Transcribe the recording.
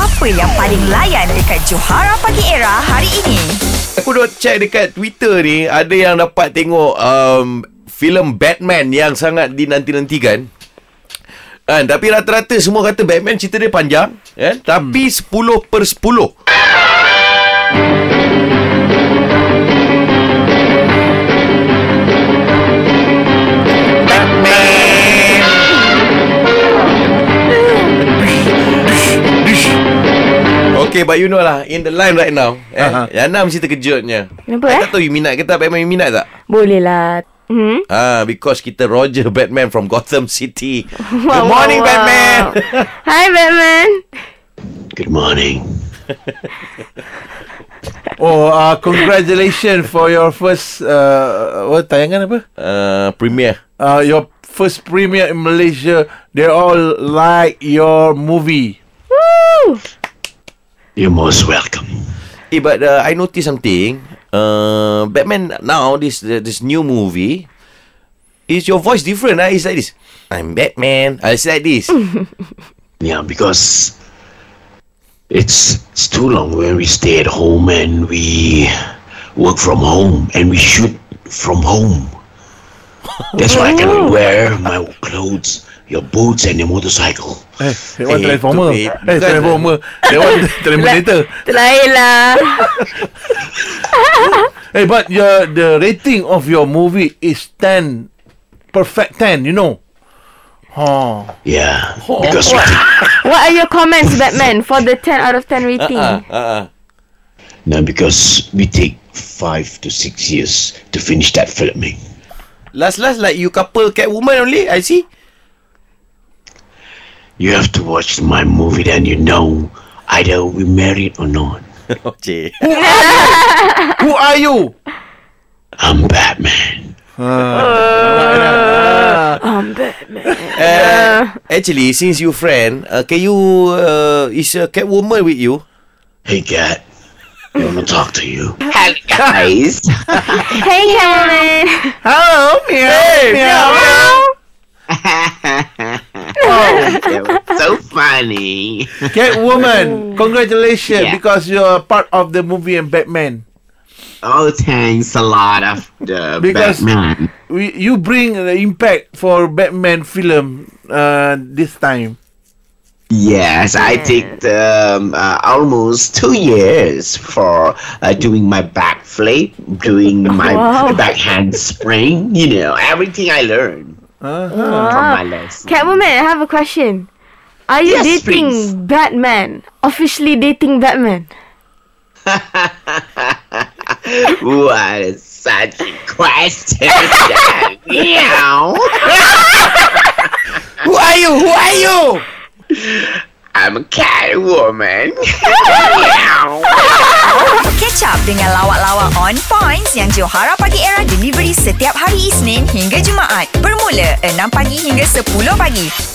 Apa yang paling layan dekat Johara Pagi Era hari ini? Aku dah check dekat Twitter ni Ada yang dapat tengok um, filem Batman yang sangat dinanti-nantikan kan? Tapi rata-rata semua kata Batman cerita dia panjang kan? Tapi 10 Hmm. per 10 Batman Okay but you know lah In the line right now eh, Aha. Yang enam mesti terkejutnya Kenapa, I eh? Tak tahu you minat ke tak Batman you minat tak Boleh lah. Hmm? Ah, because kita Roger Batman from Gotham City. Wow, Good morning, wow, wow. Batman. Hi Batman. Good morning. Oh, uh, congratulations for your first uh, what tayangan apa? Uh, premiere. Uh, your first premiere in Malaysia. They all like your movie. You're most welcome. Eh, but uh, I noticed something. Uh, Batman now this this new movie. Is your voice different? Ah, it's like this. I'm Batman. I say like this. Yeah, because it's it's too long when we stay at home and we work from home and we shoot from home. That's why I cannot wear my clothes, your boots, and your motorcycle. Eh, that one Eh, tu, eh, Transformer. Eh, bukan. Transformer. That one Terminator. Terlain lah. Eh, but your the rating of your movie is 10. Perfect 10, you know. Oh. Yeah, because we take, What are your comments Batman for the 10 out of 10 rating? Ah, ah, ah. no, because we take five to six years to finish that filming. Last last like you couple Catwoman only. I see. You have to watch my movie, then you know either we married or not. Okay. Who are you? I'm Batman. Um, Batman. Uh, actually, since you friend, uh, can you uh, is a Catwoman with you? Hey, Cat. I want to talk to you. Hi, guys. Hey Catwoman. Hello, meow, meow, meow. that was so funny. Catwoman, congratulations Yeah. because you're part of the movie and Batman. Oh, thanks a lot of the Because- Batman. We, you bring the impact for Batman film uh, this time. Yes, I take um, uh, almost two years for uh, doing my backflip, doing my Wow. backhand spring. You know, everything I learned Uh-huh. from Wow. my lesson. Catwoman, I have a question. Are you Yes, dating please. Batman? Officially dating Batman? What is such a question? Meow. Who are you? Who are you? I'm a cat woman. Catch up dengan lawak-lawak on points yang Johara Pagi Era delivery setiap hari Isnin hingga Jumaat. Bermula 6 pagi hingga 10 pagi.